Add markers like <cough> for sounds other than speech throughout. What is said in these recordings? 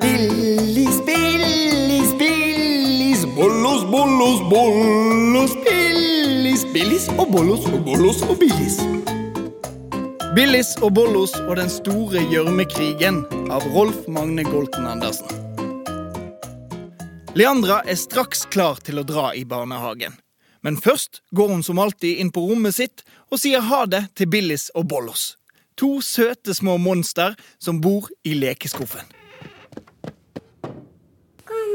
Billis, Billis, Billis. Bollos, bollos, bollos. Billis, Billis og bollos og bollos og Billis. Billis og Bollos og den store gjørmekrigen av Rolf Magne Golten Andersen. Leandra er straks klar til å dra i barnehagen. Men først går hun som alltid inn på rommet sitt og sier ha det til Billis og Bollos. To søte små monster som bor i lekeskuffen. God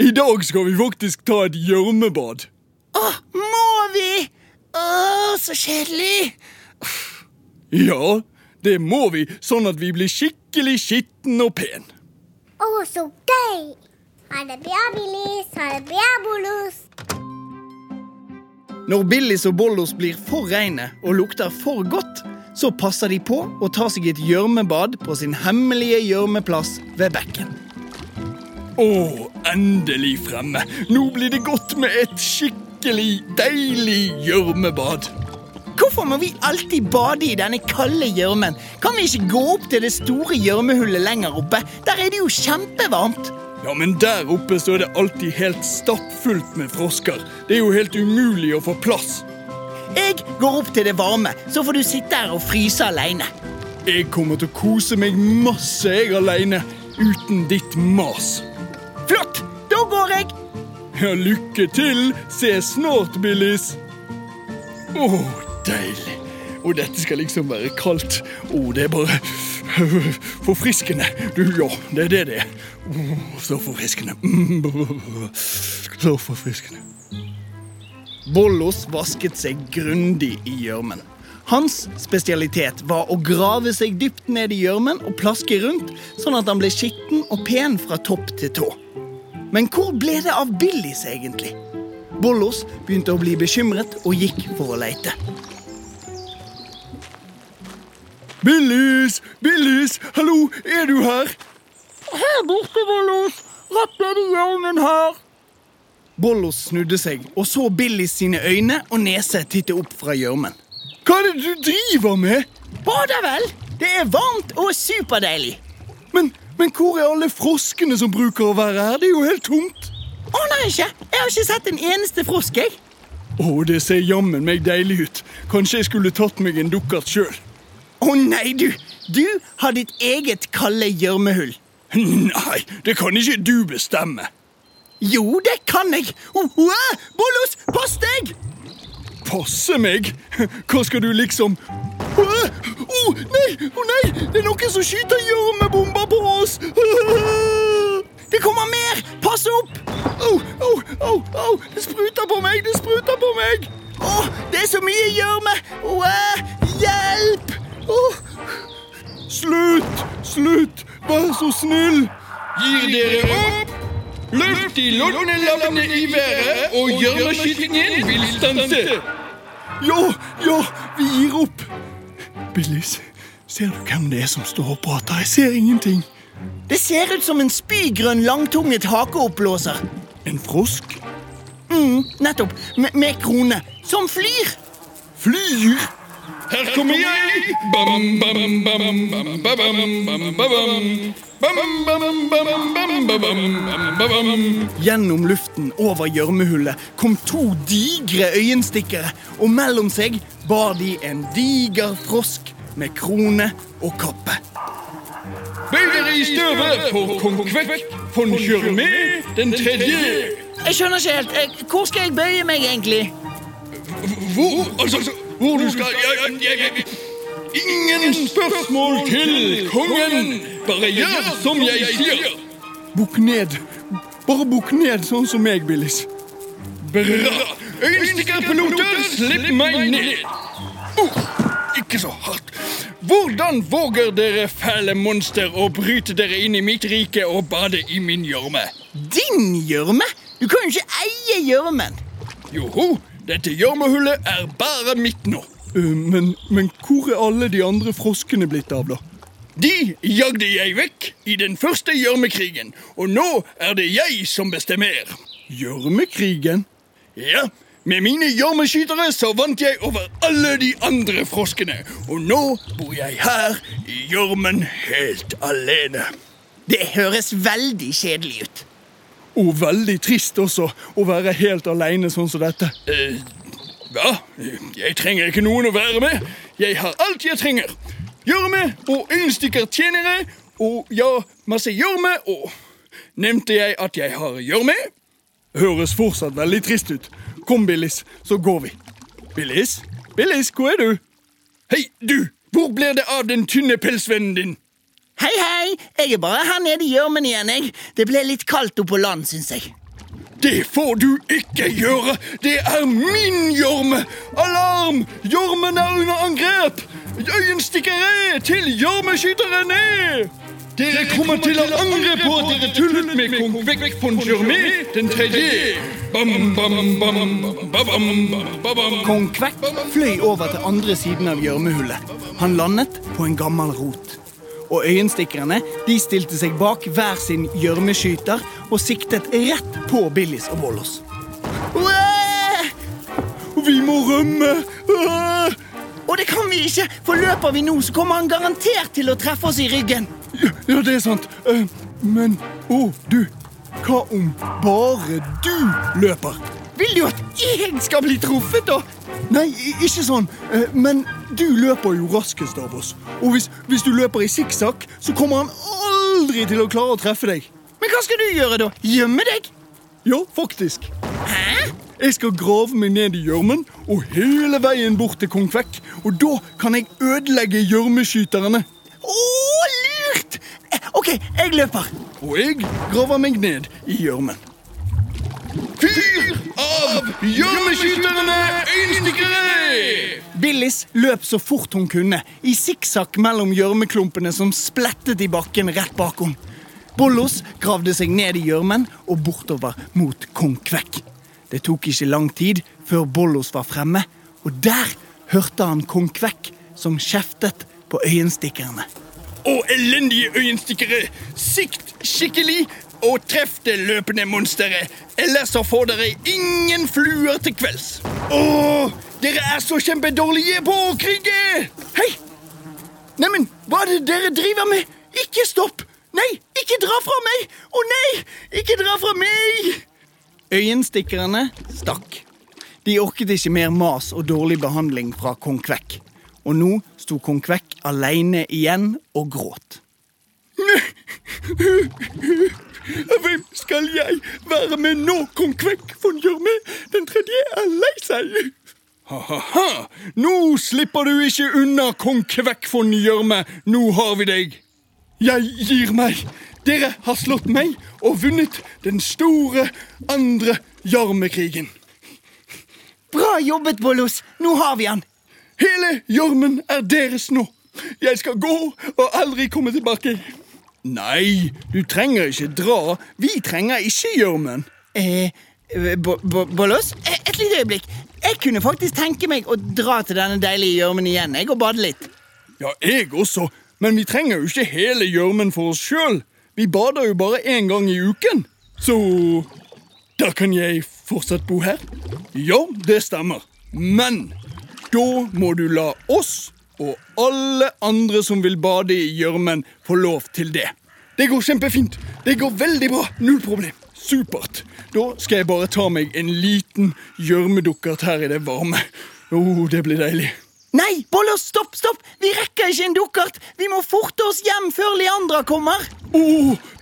I dag skal vi faktisk ta et gjørmebad. Åh, må vi? Åh, så kjedelig. Ja, det må vi, sånn at vi blir skikkelig skitten og pen. Å, så gøy! Ha det bra, Billis. Ha det bra, Bollos. Når Billis og Bollos blir for reine og lukter for godt, så passer de på å ta seg et gjørmebad på sin hemmelige gjørmeplass ved bekken. Å, endelig fremme. Nå blir det godt med et skikkelig deilig gjørmebad. Hvorfor må vi alltid bade i denne kalde gjørmen? Kan vi ikke gå opp til det store gjørmehullet lenger oppe? Der er det jo kjempevarmt. Ja, men der oppe så er det alltid helt stappfullt med frosker. Det er jo helt umulig å få plass. Jeg går opp til det varme, så får du sitte her og fryse alene. Jeg kommer til å kose meg masse jeg alene, uten ditt mas. Flott! Da går jeg. Ja, lykke til. Ses snart, Billis. Å, deilig. Og dette skal liksom være kaldt. Å, det er bare <laughs> forfriskende. Du, ja, det er det det er. Å, så forfriskende. Mm, Så forfriskende. Bollos vasket seg grundig i gjørmen. Hans spesialitet var å grave seg dypt ned i gjørmen og plaske rundt, sånn at han ble skitten og pen fra topp til tå. Men hvor ble det av Billis egentlig? Bollos begynte å bli bekymret og gikk for å leite. Billis! Billis! Hallo, er du her? Her borte, Bollos. Rett nedi hjørnet her. Bollos snudde seg og så Billis sine øyne og nese titte opp fra gjørmen. Hva er det du driver med? Bader vel. Det er varmt og superdeilig. Men, men hvor er alle froskene som bruker å være her? Det er jo helt tomt. Aner ikke. Jeg har ikke sett en eneste frosk, jeg. Å, det ser jammen meg deilig ut. Kanskje jeg skulle tatt meg en dukkert sjøl. Å nei, du! Du har ditt eget kalde gjørmehull. Nei, det kan ikke du bestemme. Jo, det kan jeg. Oh, oh, Bollos, pass deg! Passe meg? Hva skal du liksom Å oh, nei, å nei! Det er noen som skyter gjørmebomber på oss! Det kommer mer! Pass opp! Au, au, au! au. Det spruter på meg! Det spruter på meg! Å, det er så mye gjørme! Å, eh, hjelp! Åh. Slutt! Slutt! Vær så snill! Gir dere opp? Løft de lodne lammene i været, og gjørmeskytingen vil stanse. Ja, ja, vi gir opp. Billis, ser du hvem det er som står og prater? Jeg ser ingenting. Det ser ut som en spygrønn, langtunget hakeoppblåser. En frosk? Mm, nettopp. Med, med krone. Som flyr. Flyr? Her kommer jeg! Bam, bam, bam, bam, bam, bam, bam, bam. Bam, bam, bam, bam, bam, bam, bam, bam. Gjennom luften over gjørmehullet kom to digre øyenstikkere, og mellom seg bar de en diger frosk med krone og kappe. Bøy dere i støvet for kong Kvekk von Kjørme den tredje. Jeg skjønner ikke helt. Eh, Hvor skal jeg bøye meg, egentlig? Hvor, altså, hvor du skal jeg, jeg, jeg, Ingen spørsmål til kongen! Bare gjør som jeg sier! Bukk ned. Bare bukk ned, sånn som meg, Billis. Bra! Uh, Øyenstikkerpiloter, slipp meg ned! Oh, ikke så hardt. Hvordan våger dere fæle monster å bryte dere inn i mitt rike og bade i min gjørme? Din gjørme? Du kan jo ikke eie gjørmen. Joho, dette gjørmehullet er bare mitt nå. Eh, men, hvor er alle de andre froskene blitt av, da? De jagde jeg vekk i den første gjørmekrigen, og nå er det jeg som bestemmer. Gjørmekrigen? Ja, med mine gjørmeskytere så vant jeg over alle de andre froskene, og nå bor jeg her i gjørmen helt alene. Det høres veldig kjedelig ut. Og veldig trist også å være helt aleine sånn som dette. Eh, hva? Jeg trenger ikke noen å være med. Jeg har alt jeg trenger. Gjørme og innstikkertjenere og ja, masse gjørme og Nevnte jeg at jeg har gjørme? Høres fortsatt veldig trist ut. Kom, Billis, så går vi. Billis? Billis, hvor er du? Hei, du! Hvor blir det av den tynne pelsvennen din? Hei, hei! Jeg er bare her nede i gjørmen igjen. jeg. Det ble litt kaldt oppe på land, syns jeg. Det får du ikke gjøre! Det er min gjørme! Alarm! Gjørmen er under angrep! Øyenstikkere til gjørmeskytere ned! Dere kommer til å angre på at dere tullet med kong Vekk von Gjørme den tredje. Bam, bam, bam, bam, bam, bam, bam. Kong Kvekk fløy over til andre siden av gjørmehullet. Han landet på en gammel rot. Og øyenstikkerne de stilte seg bak hver sin gjørmeskyter og siktet rett på Billis og Bollos. Vi må rømme! Ah! Øh. Og det kan vi ikke, for løper vi nå, så kommer han garantert til å treffe oss i ryggen. Ja, ja, det er sant. Eh, Men å, du. Hva om bare du løper? Vil du at jeg skal bli truffet, da? Nei, i- ikke sånn. Eh, Men du løper jo raskest av oss. Og hvis, hvis du løper i sikksakk, så kommer han aldri til å klare å treffe deg. Men hva skal du gjøre, da? Gjemme deg? Ja, faktisk. Hæ? Jeg skal grave meg ned i gjørmen og hele veien bort til kong Kvekk. Og da kan jeg ødelegge gjørmeskyterne. Å, lurt! Eh, OK, jeg løper. Og jeg graver meg ned i gjørmen. Fyr av gjørmeskyterne, øyenstikkere! Billis løp så fort hun kunne, i sikksakk mellom gjørmeklumpene som splettet i bakken rett bak henne. Bollos gravde seg ned i gjørmen og bortover mot kong Kvekk. Det tok ikke lang tid før Bollos var fremme, og der hørte han kong Kvekk som kjeftet på øyenstikkerne. og elendige øyenstikkere. Sikt skikkelig og treff det løpende monsteret. Ellers så får dere ingen fluer til kvelds. Åh, dere er så kjempedårlige på å krige! Hei! Neimen, hva er det dere driver med? Ikke stopp! Nei, ikke dra fra meg! Å nei, ikke dra fra meg! Øyenstikkerne stakk. De orket ikke mer mas og dårlig behandling fra kong Kvekk. Og nå sto kong Kvekk aleine igjen og gråt. Hvem skal jeg være med nå, kong Kvekk von Gjørme? Den tredje er lei seg. Ha-ha-ha! Nå slipper du ikke unna, kong Kvekk von Gjørme. Nå har vi deg. Jeg gir meg. Dere har slått meg og vunnet den store andre Jarmekrigen. Bra jobbet, Bollos! Nå har vi han! Hele Jarmen er deres nå. Jeg skal gå og aldri komme tilbake. Nei, du trenger ikke dra. Vi trenger ikke gjørmen. Eh, bo bo Bollos, Eh, et lite øyeblikk. Jeg kunne faktisk tenke meg å dra til denne deilige gjørmen igjen jeg, og bade litt. Ja, jeg også. Men vi trenger jo ikke hele gjørmen for oss sjøl. Vi bader jo bare én gang i uken. Så da kan jeg fortsatt bo her? Ja, det stemmer. Men da må du la oss og alle andre som vil bade i gjørmen, få lov til det. Det går kjempefint. Det går veldig bra. Null problem. Supert. Da skal jeg bare ta meg en liten gjørmedukkert her i det varme. Å, oh, det blir deilig. Nei, Bollos, stopp, stopp! Vi rekker ikke en dukkert! Vi må forte oss hjem før Leandra kommer! Å,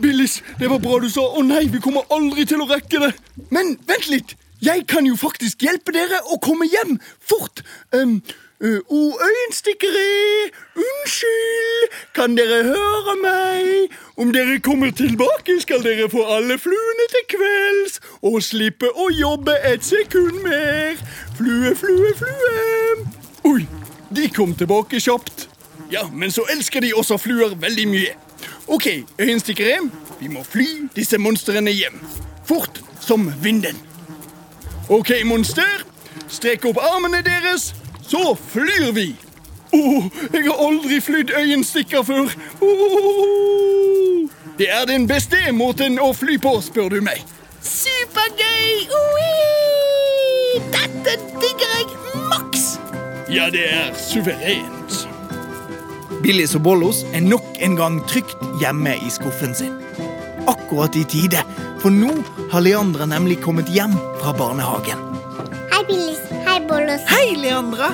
Billis, det var bra du sa. Å nei, vi kommer aldri til å rekke det. Men vent litt. Jeg kan jo faktisk hjelpe dere å komme hjem. Fort. Um, uh, Å, øyenstikkere, unnskyld. Kan dere høre meg? Om dere kommer tilbake, skal dere få alle fluene til kvelds og slippe å jobbe et sekund mer. Flue, flue, flue. Oi, de kom tilbake kjapt. Ja, men så elsker de også fluer veldig mye. Ok, øyenstikkere, vi må fly disse monstrene hjem. Fort som vinden. Ok, monster, strekk opp armene deres, så flyr vi. Å, jeg har aldri flydd øyenstikker før. Åh. Det er den beste måten å fly på, spør du meg. Supergøy! Ui! Dette digger jeg maks! Ja, det er suverent. Billis og Bollos er nok en gang trygt hjemme i skuffen sin. Akkurat i tide, for nå har Leandra nemlig kommet hjem fra barnehagen. Hei, Billis. Hei, Bollos. Hei, Leandra!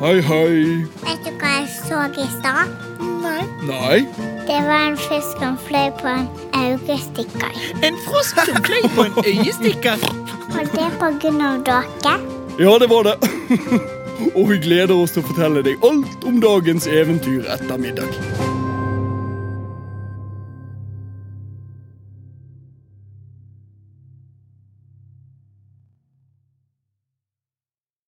Hei, hei. Vet du hva jeg så i stad? Nei. Nei. Det var en fisk som fløy på en augestikker. <laughs> En frosk som fløy på en øyestikker. Og det er på grunn av dere. Ja, det var det. <laughs> og vi gleder oss til å fortelle deg alt om dagens eventyr etter middag.